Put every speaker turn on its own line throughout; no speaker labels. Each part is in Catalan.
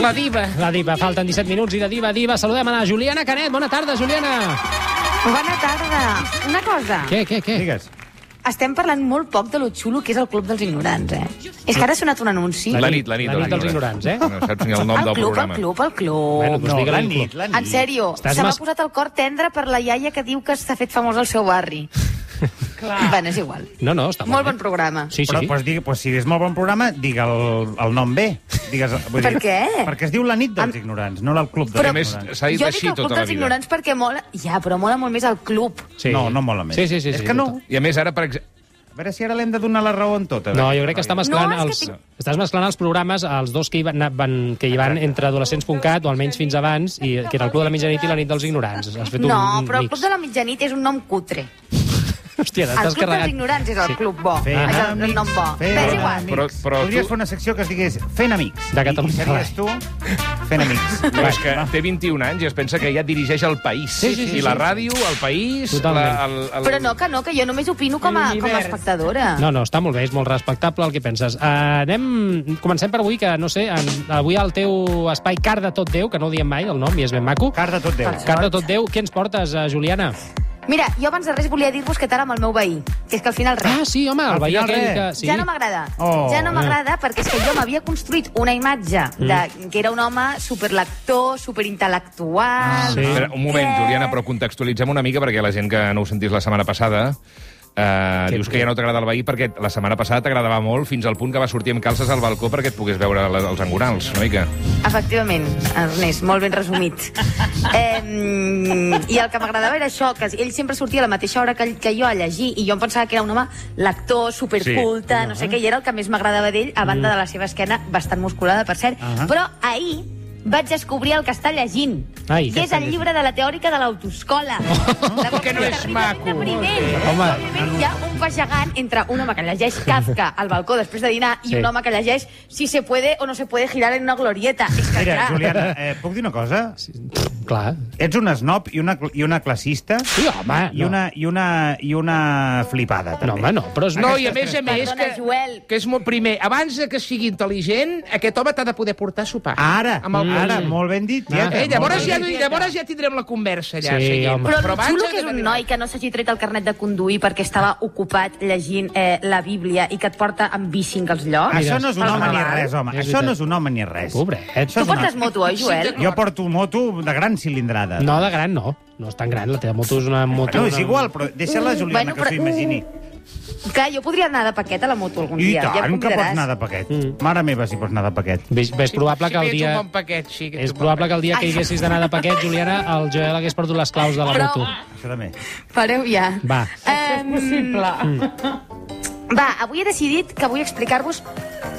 La diva.
La diva, falten 17 minuts i de diva a diva saludem a la Juliana Canet. Bona tarda, Juliana.
Bona tarda. Una cosa.
Què, què, què?
Digues.
Estem parlant molt poc de lo xulo que és el Club dels Ignorants, eh? És que ara ha sonat un anunci.
La
La
nit,
nit, la nit.
la nit dels ignorants, eh?
No saps ni el nom
el
del
club,
programa.
el club, el club.
Bueno, doncs
No,
digue-li
la
un
nit,
club.
la nit.
En sèrio,
Estàs
se m'ha
mas-
posat el cor tendre per la iaia que diu que s'ha fet famós al seu barri. Clar. Bueno, és igual.
No, no, està
Molt
bé.
bon programa.
Sí, sí.
Però, doncs, digue, doncs, si és molt bon programa, digue el, el nom bé. Digues, vull
Per
dir,
què?
Perquè es diu la nit dels
Am-
ignorants, no el club dels
Però-
A més,
ignorants.
s'ha dit
jo dic
així
el Club
tota la
dels
vida.
Ignorants perquè mola... Ja, però mola molt més el club.
Sí.
No, no mola més.
Sí, sí, sí.
És
sí,
que no.
total.
I a més, ara, per exemple...
A veure si ara l'hem de donar la raó en tot. a
No,
veure.
jo crec que està mesclant,
No, és
els,
que
estàs mesclant els programes, els dos que hi van, van, que hi van entre adolescents.cat, o almenys fins abans, i, que era el Club de la Mitjanit i la nit dels ignorants. Has fet
No,
un, un
però el
mix.
Club de la Mitjanit és un nom cutre.
Hòstia,
El
t'estàs
Club dels
carregat.
Ignorants és el club bo.
Fent
és el,
amics,
el nom bo. Bé, és
fent
igual.
amics.
Però- però
Podries
tu-
fer una secció que es digués Fent amics.
De Catalunya.
I, i series tu fent amics.
No, és que té 21 anys i es pensa que ja dirigeix el país.
Sí, sí, sí,
I la
sí.
ràdio, el país...
Totalment.
La, el, el...
Però no, que no, que jo només opino com a, com a espectadora.
No, no, està molt bé, és molt respectable el que penses. Uh, anem... Comencem per avui, que no sé, en, avui al teu espai Car de tot Déu, que no ho diem mai el nom i és ben maco.
Car de tot Déu.
Car de tot Déu, què ens portes, eh, Juliana?
Mira, jo abans de res volia dir-vos que tard amb el meu veí, que és que al final res.
Ah, sí, home, el
Al
veí
final
aquell
res.
que... Ah, Sí.
Ja no m'agrada.
Oh,
ja no
eh.
m'agrada perquè és que jo m'havia construït una imatge
Mm.
de que era un home superlector, superintel·lectual...
Ah,
Eh,
sí.
Espera, un moment, Juliana, però contextualitzem una mica, perquè la gent que no ho sentís la setmana passada... Uh, dius que ja no t'agrada el veí perquè la setmana passada t'agradava molt fins al punt que va sortir amb calces al balcó perquè et pogués veure la, els angurals, no? I que...
Efectivament, Ernest, molt ben resumit. Eh, I el que m'agradava era això, que ell sempre sortia a la mateixa hora que, que jo a llegir, i jo em pensava que era un home lector, superculte, no sé què, i era el que més m'agradava d'ell, a banda de la seva esquena bastant musculada, per cert.
Ahà.
Però ahir vaig descobrir el que està llegint.
Ai,
I
què
és
està
el llibre de la teòrica de l'autoescola. Oh,
que no és maco.
Home.
Hi ha un pas gegant entre un home que llegeix Kafka al balcó després de dinar i
Sí.
un home que llegeix si se puede o no se puede girar en una glorieta. És que,
Mira,
clar,
Juliana, eh, puc dir una cosa?
Clar.
Ets un snob i una, cl- i una classista
Sí, home,
i, una, i, una, i una flipada,
No,
també.
home, no, però és...
No, i a més a més
Perdona,
que,
Joel.
que és molt primer. Abans de que sigui intel·ligent, aquest home t'ha de poder portar a sopar.
Ara,
Amb el
ara,
cos.
molt ben dit, tieta.
Eh, llavors,
molt
ja,
ben dit.
llavors ja tindrem la conversa allà.
Sí,
seguint.
home.
Però, però el xulo
abans
que és un
hem
noi que no s'hagi tret el carnet de conduir perquè estava ocupat llegint eh, la Bíblia i que et porta amb bici als llocs.
Això no és un
Però
home ni
normal.
res, home.
És
Això no
veritat.
és un home ni res.
Pobret.
Això
Tu
és una-
portes moto, oi, Joel?
Jo porto moto de gran cilindrada.
No, de gran no. No és tan gran, la teva moto és una moto...
No, és
una-
igual, però deixa la
Mm,
Juliana
bueno,
que s'ho
però-
imagini.
Clar, jo podria anar de paquet a la moto algun
I
dia. ja em
tant, que pots
convidaràs.
anar de paquet. Mare meva, si pots anar de paquet.
És, és probable
Si
que el
ets
dia...
un bon paquet, sí. Que
És probable que el dia que hi haguessis d'anar de paquet, Juliana, el Joel hagués perdut les claus de la
Però-
moto.
Això també.
Pareu ja.
Va.
Això és possible. Va, avui he decidit que vull explicar-vos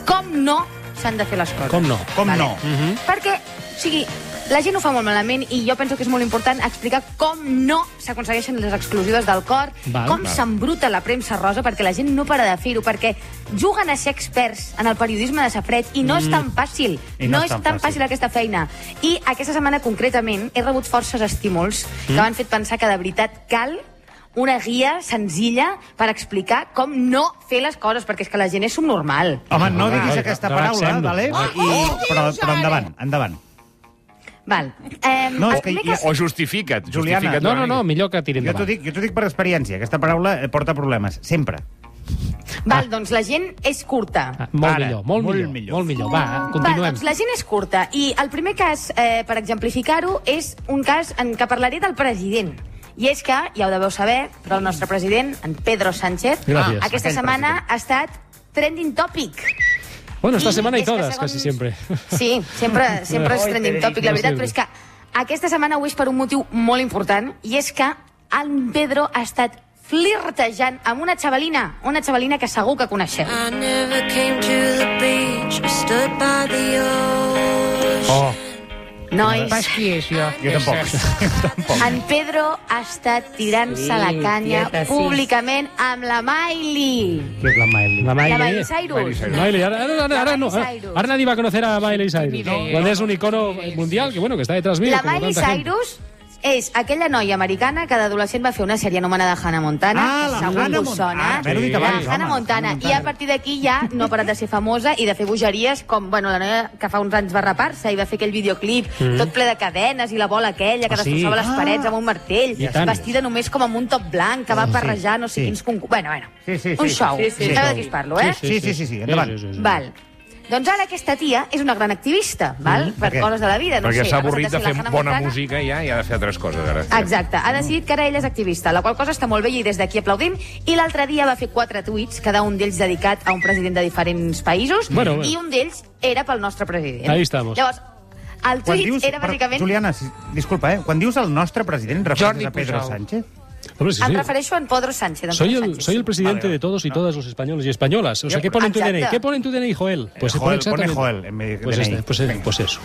com no s'han de fer les coses.
Com no?
Com no?
Perquè, o sigui, la gent ho fa molt malament i jo penso que és molt important explicar com no s'aconsegueixen les exclusives del cor,
Val.
com
Val.
s'embruta la premsa rosa, perquè la gent no para de fer-ho, perquè juguen a ser experts en el periodisme de safreig i no és tan fàcil.
I
Mm. no, és tan fàcil. aquesta feina. I aquesta setmana, concretament, he rebut forces estímuls que m'han fet pensar que de veritat cal una guia senzilla per explicar com no fer les coses, perquè és que la gent és subnormal.
Home, no diguis
va,
aquesta
va,
paraula,
relaxem-nos.
vale?
Ah,
Va.
I,
oh,
però, però endavant, endavant.
Val. Eh,
No, és que hi ha-
O justifica't,
Juliana.
justifica't.
No,
una
no, no,
mica.
millor que tirin
Jo t'ho
endavant.
dic, jo t'ho dic per experiència. Aquesta paraula eh, porta problemes, sempre.
Val, doncs la gent és curta.
Ah, molt,
Ara,
millor, molt,
molt
millor,
millor.
molt millor. Va, continuem.
Va, doncs la gent és curta i el primer cas, eh, per exemplificar-ho, és un cas en què parlaré del president. I és que, ja ho deveu saber, però el nostre president, en Pedro Sánchez,
Gràcies.
aquesta setmana ha estat trending topic.
Bueno, esta
I
semana y
és que
todas,
segons-
casi siempre.
Sí, sempre, sempre és trending topic, la veritat,
No
però és que aquesta setmana ho és per un motiu molt important, i és que en Pedro ha estat flirtejant amb una xavalina, una xavalina que segur que coneixeu.
Ah.
I never came to the beach. I stood by the ocean.
Oh,
Nois,
Pas qui és, jo.
jo tampoc.
En Pedro ha estat tirant-se sí, la canya tieta, sí. públicament amb la Miley.
¿Qué es la Miley? La
La
Miley.
Miley Cyrus.
Miley, ahora, ahora, ahora, ahora no.
La Miley Cyrus.
Ahora nadie va a conocer a Miley Cyrus.
Miley.
eh,
Cuando es un icono mundial que, bueno, que está detrás mío.
La
como
Miley
tanta gente.
Cyrus és aquella noia americana que d'adolescent va fer una sèrie anomenada Hannah Montana,
Ah,
que
la
segur
Hannah
que us
Montana.
sona.
Ah, m'he dit
la
abans, home,
Hannah Montana.
Hannah
I a
Montana.
partir d'aquí ja no ha parat de ser famosa i de fer bogeries, com bueno, la noia que fa uns anys va rapar-se i va fer aquell videoclip mm. tot ple de cadenes i la bola aquella que
Ah, sí?
destrossava les
Ah.
parets amb un martell,
I tant.
vestida només com amb un top blanc, que va
Oh, Sí,
barrejar no sé
sí.
quins concurs... Bueno, bueno,
Sí, sí,
un
sí.
show.
Sí, sí,
Sabeu
sí.
de qui us parlo, eh?
Sí, sí, sí, sí, endavant.
Val. Doncs ara aquesta tia és una gran activista, val?
Mm. per
per
què?
coses de la vida. No
Perquè
sé,
s'ha
ha passat
avorrit de
ser la
fer
Hannah
bona
Montana.
música ja i ha de fer altres coses, ara.
Exacte, ha decidit que ara ella és activista, la qual cosa està molt bé i des d'aquí aplaudim. I l'altre dia va fer quatre tuits, cada un d'ells dedicat a un president de diferents països,
Bueno, bueno.
i un d'ells era pel nostre president.
Ahí estamos.
Llavors, el
Quan
tuit
dius,
era
per-
bàsicament...
Juliana, si, disculpa, eh? Quan dius el nostre president,
Jordi
refereixes a Pedro
Pujol.
Sánchez?
Hombre, sí,
Em
sí.
refereixo a en Pedro Sánchez. en
Soy
Pedro
el,
Sánchez,
soy el
sí.
presidente
Vale,
de todos y todas los españoles y españolas. O sea,
Yo-
¿qué pone en tu
Exacto.
DNI? ¿Qué pone en tu DNI, Joel? Pues se
Eh, Joel, pone
pone exactamente...
Joel en mi
pues,
DNI.
este, pues, eh,
Venga.
pues eso.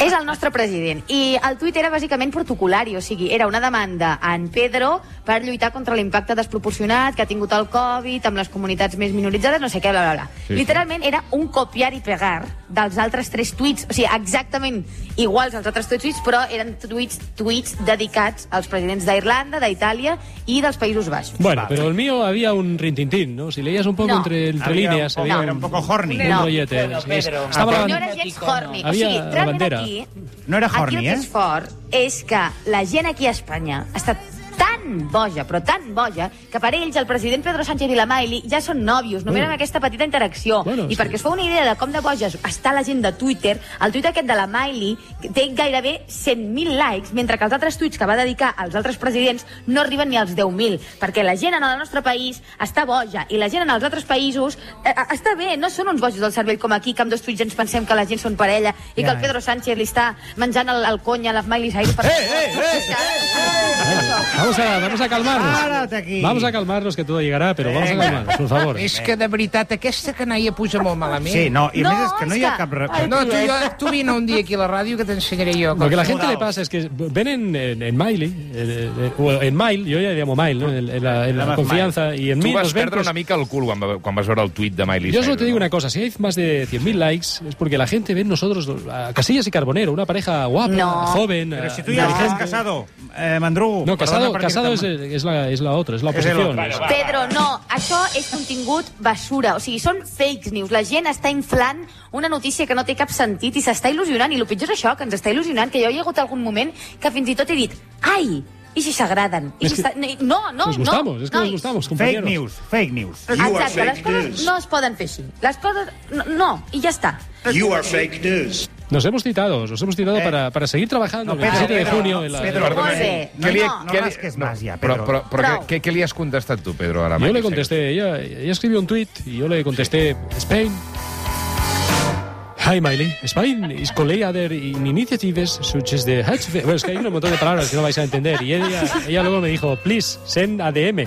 És el nostre president. I el tuit era bàsicament protocolari, o sigui, era una demanda a en Pedro per lluitar contra l'impacte desproporcionat que ha tingut el Covid amb les comunitats més minoritzades, no sé què, bla, bla, bla.
Sí,
Sí,
sí.
Literalment era un copiar i pegar dels altres tres tuits, o sigui, exactament iguals als altres tres tuits, però eren tuits, tuits dedicats als presidents d'Irlanda, d'Itàlia i dels Països Baixos.
Bueno, pero el mío había un rintintín, ¿no? Si leías un poco
No.
entre, entre
Había un
líneas,
poco-
había
era un poco horny.
un
No.
rollete.
Pedro,
Sí, es-
Pedro.
Estaba la-
No era gens horny. O
Havia
sigui,
la
realment
bandera.
aquí...
No era horny,
aquí el que és
eh?
fort és que la gent aquí a Espanya ha estat tan boja, però tan boja, que per ells el president Pedro Sánchez i la Miley ja són nòvios, només
Bueno.
amb aquesta petita interacció.
Bueno,
I
sí.
perquè us feu una idea de com de boja està la gent de Twitter, el tuit aquest de la Miley té gairebé 100.000 likes, mentre que els altres tuits que va dedicar als altres presidents no arriben ni als 10.000, perquè la gent en el nostre país està boja, i la gent en els altres països eh, eh, està bé, no són uns bojos del cervell com aquí, que amb dos tuits ens pensem que la gent són parella i que el Pedro Sánchez li està menjant el, el cony a la Miley Cyrus. Eh, eh,
Vamos a, vamos a calmarnos.
Párate aquí.
Vamos a calmarnos, que todo llegará, pero vamos a
Venga.
calmarnos, por favor.
És que, de veritat, aquesta canalla puja molt malament.
Sí, no, i a
No,
més és que no hi ha
és que-
cap... Re...
Ai,
No, tu, jo, tu vine un dia aquí a la ràdio que t'ensenyaré jo.
Lo que a la gente
Modal.
le pasa es que ven en, en, en Miley, en, en- o en Mile, yo ya le llamo Mile, ¿no? en, en la, en la
Llamas
confianza, y en
Tu
mí
vas
nos ven,
perdre
pues,
una mica el cul quan, va- quan vas veure el tuit de Miley
Yo solo
Cyrus,
te digo
no?
una cosa, si hay más de 100.000 likes es porque la gente ve en nosotros a Casillas y Carbonero, una pareja guapa,
No.
joven,
Però si tu
eh,
ja
No.
estàs casado, eh, Mandrugo...
No, Casado,
perdona perquè
Casado
te'n-
es, es la, es la otra, es la
Es el
oposición.
otro.
Es-
Pedro, no, això és contingut basura. O sigui, són fake news. La gent està inflant una notícia que no té cap sentit i s'està il·lusionant. I el pitjor és això, que ens està il·lusionant, que jo hi ha hagut algun moment que fins i tot he dit ai, i si s'agraden. I si
És que-
s'ha- No, no,
nos
no.
gustamos, es que nos
nois.
gustamos,
Fake
compañeros.
news, fake news.
Exacte, les coses no es poden fer així. Les coses... No, no i ja està.
Nos hemos citado, nos hemos citado
Eh.
para, para seguir trabajando el 17 de junio. en la-
Pedro,
Perdona,
Molt bé.
eh,
Què li,
No,
no
què li,
rasques más ja,
però,
Pedro.
però, però
Prou.
què, què li has contestat tu, Pedro, a la
Yo
Miley
le
Cyrus?
contesté, ella, ella escribió un tweet y yo le contesté, Spain. Hi, Miley. Spain is calling other in initiatives such as the Hatch... Bueno, es que hay un montón de palabras que no vais a entender. Y ella, ella luego me dijo, please, send ADM.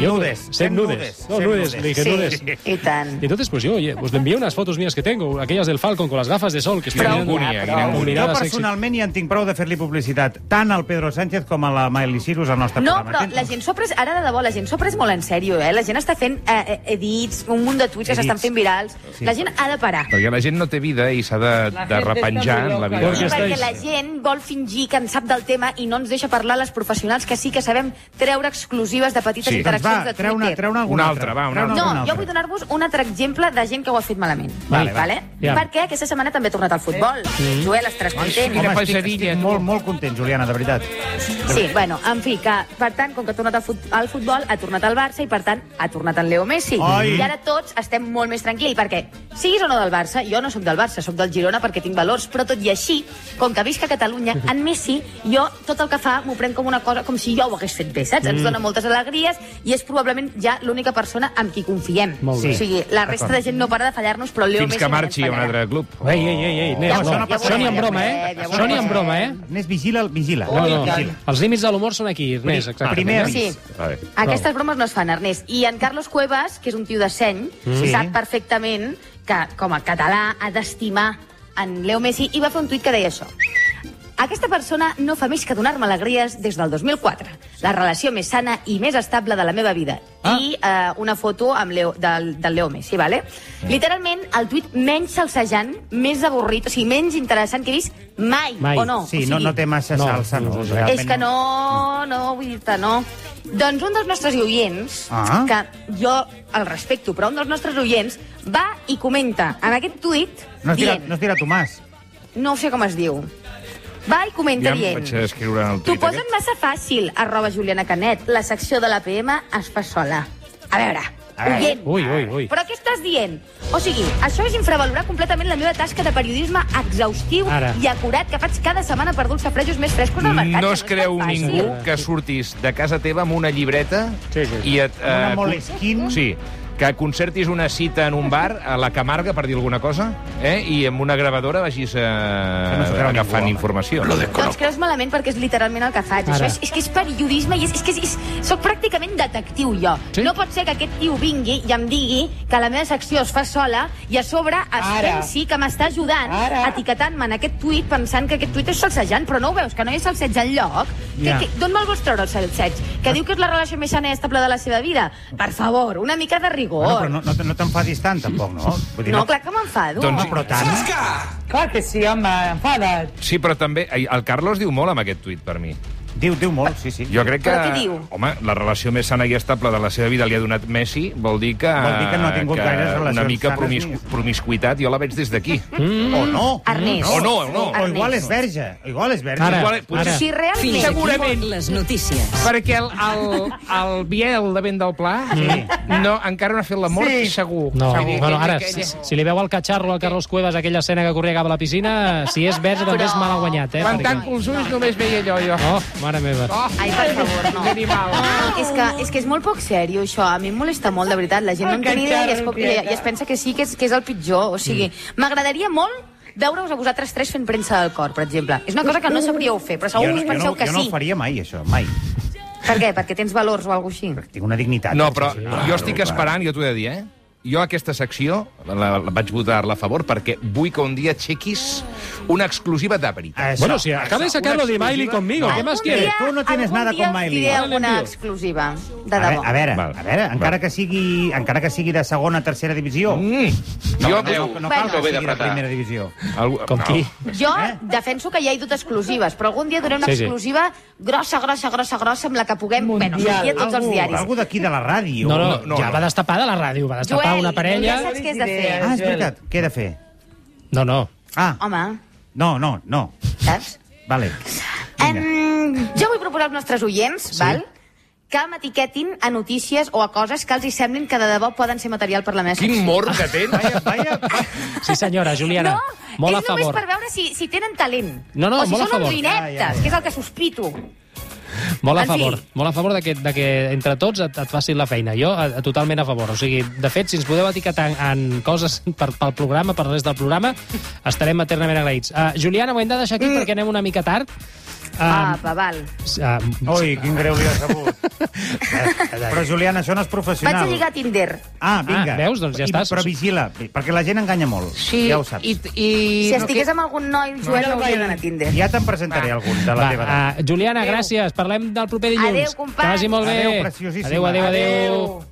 Y yo,
nudes,
Send
send
nudes.
nudes,
No,
send
nudes.
nudes.
Le dije, nudes.
i tant.
Y entonces, pues yo, oye, pues le envié unas fotos mías que tengo, aquellas del Falcon con las gafas de sol que estoy
Quina
mirando.
angúnia,
con
quina angúnia.
mirada
Jo
sexy.
personalment ja en tinc prou de fer-li publicitat, tant al Pedro Sánchez com a la Miley Cyrus al nostre
No,
programa.
però
Tens-
la gent s'ho ha pres, ara de debò, la gent s'ho ha pres molt en sèrio, eh? La gent està fent eh, eh, edits, un munt de tuits que
Edits.
s'estan fent virals.
Sí.
La gent ha de parar.
Perquè la gent no té vida i s'ha de, de repenjar en la vida.
Perquè
Sí, perquè
estáis-
la gent vol fingir que en sap del tema i no ens deixa parlar les professionals que sí que sabem treure exclusives de petites
Sí.
Doncs va,
interaccions de Twitter.
treu-ne treu algun
Un
altre.
altre, va, un
Treu-ne
altre.
No,
algun
jo vull donar-vos un altre exemple de gent que ho ha fet malament.
Vale,
vale?
ja.
Perquè aquesta setmana també ha tornat al futbol. Joel, estaràs content.
Quina
Home, estic,
pesadilla,
estic
tu.
molt, molt content, Juliana, de veritat.
Sí, bueno, en fi, que, per tant, com que ha tornat al, fut al futbol, ha tornat al Barça i, per tant, ha tornat en Leo Messi.
Ai.
I ara tots estem molt més tranquils, perquè siguis o no del Barça, jo no sóc del Barça, sóc del Girona perquè tinc valors, però tot i així, com que visc a Catalunya, en Messi, jo tot el que fa m'ho prenc com una cosa, com si jo ho hagués fet bé, saps?
Mm.
Ens dona moltes alegries i és probablement ja l'única persona amb qui confiem.
Molt bé.
O sigui, la resta de gent no para de fallar-nos, però el Leo
Fins
Messi
que
mai ens
marxi a un
fallarà.
altre club.
Ei, ei, ei, ei, Nel,
Ja
no.
veurem, ja
Això ni en
veurem,
broma,
ja
eh?
veurem.
Això ni en broma, eh?
Ernest, vigila, vigila.
No, no.
Vigila.
Els límits de l'humor són aquí, Ernest, exacte.
Primer avís.
Sí.
Vale.
Aquestes bromes no es fan, Ernest. I en Carlos Cuevas, que és un tio de seny,
Sí.
mm. sap perfectament que, com a català, ha d'estimar en Leo Messi i va fer un tuit que deia això. Aquesta persona no fa més que donar-me alegries des del 2004. La relació més sana i més estable de la meva vida.
Ah.
I eh, una foto amb Leo, del, del Leo Messi, vale?
Mm.
Literalment, el tuit menys salsejant, més avorrit, o sigui, menys interessant que he vist mai,
Mai.
o no? o
Sí,
sigui,
no, no té massa
no,
salsa.
no,
No,
és
realment
és que no, no, vull dir-te, no. Doncs un dels nostres oients,
Ah.
que jo el respecto, però un dels nostres oients va i comenta en aquest tuit
No es dirà,
dient,
no es dirà Tomàs.
no sé com es diu, va i comenta
Ja em
dient...
vaig a escriure en el
T'ho
tuit
posen
aquest.
massa fàcil, arroba Juliana Canet. La secció de l'APM es fa sola. A veure,
A veure.
oient,
Ui, ui, ui.
però què estàs dient? O sigui, això és infravalorar completament la meva tasca de periodisme exhaustiu
Ara.
i acurat que faig cada setmana per dur els safrejos més frescos del mercat.
No
que
es
és tan
creu
fàcil.
ningú que surtis de casa teva amb una llibreta
Sí, sí, sí.
i et...
Una
eh,
Moleskine.
con- Sí, que concertis una cita en un bar, a la Camarga, per dir alguna cosa, eh? i amb una gravadora vagis eh,
no s'ho creu ningú,
agafant
home.
informació.
Doncs creus malament perquè és literalment el que faig.
Ara.
Això és, és que és periodisme i és, és que és, és, soc pràcticament detectiu, jo.
Sí?
No pot ser que aquest tio vingui i em digui que la meva secció es fa sola i a sobre es
Ara.
pensi que m'està ajudant
Ara.
etiquetant-me en aquest tuit pensant que aquest tuit és salsejant, però no ho veus, que no hi ha salseig enlloc.
Ja.
Yeah. Que, D'on me'l vols treure, el salseig? Que diu que és la relació més sana i estable de la seva vida? Per favor, una mica de rigor.
Bueno, però no, no, te- no t'enfadis tant, tampoc, no? Vull
no, clar que m'enfado.
Doncs-
Home, però tant.
Clar que sí, home, enfada't.
Sí, però també... ai, El Carlos diu molt amb aquest tuit, per mi.
Diu, diu molt, sí, sí.
Jo crec que...
Però què diu?
Home, la relació més sana i estable de la seva vida li ha donat Messi, vol dir que...
Vol dir que no ha tingut gaires
Una
relacions
mica
sanes
promis,
ni-
promiscuïtat, jo la veig des d'aquí.
O no.
Ernest.
O no, o no.
O igual és
Ernest.
verge. Igual és verge.
Ara.
Igual, potser
Si realment...
Segurament.
Les notícies.
Perquè el, el, el Biel de Vent del Pla no, encara no ha fet l'amor, sí. segur.
No,
segur.
bueno, ara,
Que-
si,
que-
si li veu el catxarro al Carlos Cuevas, aquella escena que corria cap a la piscina, si és verge també és mal guanyat, eh?
Quan
perquè-
tanco els ulls només veia allò, jo.
Oh, mare meva.
Ai, per favor, no.
Que animal.
Ah, és, que, és que és molt poc sèrio, això. A mi em molesta molt, de veritat. La gent no en té ni idea i es, co- i, i es pensa que sí, que és, que és el pitjor. O sigui, m'agradaria molt veure-us a vosaltres tres fent premsa del cor, per exemple. És una cosa que no sabríeu fer, però segur que us
no,
penseu que
jo no
sí.
ho faria mai, això, mai.
Per què? Perquè tens valors o alguna així?
Tinc una dignitat.
No, però
Sí, sí.
Ah,
jo estic esperant, jo t'ho he de dir, eh? Jo aquesta secció la, la vaig votar-la a favor perquè vull que un dia aixequis una exclusiva d'Aperit.
Això,
Bueno, si acaba de sacarlo de Miley conmigo,
No.
¿qué más
Algun
quieres?
dia-
Tu no tienes
algun
nada
dia
con
us
Miley.
diré
Ara
alguna exclusiva, de
A veure,
debò.
a veure,
Val.
a veure encara,
Val.
que sigui, encara que sigui de segona o tercera divisió.
Mm.
No, no,
jo,
no,
Bueno.
no, cal que sigui de primera divisió.
Algú...
Com qui?
Jo
Eh?
defenso que ja he dut exclusives, però algun dia donaré una
Sí, sí.
exclusiva grossa, grossa, grossa, grossa, amb la que puguem... Bueno, sortir a tots els diaris.
Algú d'aquí de la ràdio.
No, no,
no,
ja
no.
va destapar de la ràdio, va destapar una parella...
ja saps què has de fer.
Ah, és veritat. Què he de fer?
No, no.
Ah,
Home,
no, no, no.
saps?
Vale. Vinga.
Em, jo vull proposar als nostres oients, val? que m'etiquetin a notícies o a coses que els hi semblin que de debò poden ser material per la meva
Quin
secció.
mor que tens!
Vaya, vaya.
Sí, senyora, Juliana,
no,
molt a
és
favor.
només per veure si, si tenen talent.
No, no,
o si
molt a
són
favor.
uns ineptes,
Ja, ja, ja.
que és el que sospito.
Molt a
En fi.
favor, molt a favor de que, de que entre tots et, et facin la feina. Jo a, a, totalment a favor. O sigui, de fet, si ens podeu etiquetar en, en coses per, pel programa, per res del programa, estarem eternament agraïts. Uh, Juliana, ho hem de deixar aquí perquè anem una mica tard. Uh,
Ah, va, val.
uh,
Ui, quin greu li ha sabut. Però, Juliana, això no
Vaig
és professional.
a lligar a Tinder.
Ah, vinga.
Ah, veus? Doncs ja
I-
estàs.
Però vigila, perquè la gent enganya molt.
Sí,
ja ho saps.
i, i
Si
no,
estigués amb algun noi, Joel, no hauria d'anar a Tinder.
Ja te'n presentaré algun de la
Va, ah,
teva edat.
uh, Juliana, gràcies. Parlem del proper dilluns.
Adéu, companys.
Que vagi molt bé.
Adéu, preciosíssima.
Adéu, adéu, adéu.
Adéu.
adéu.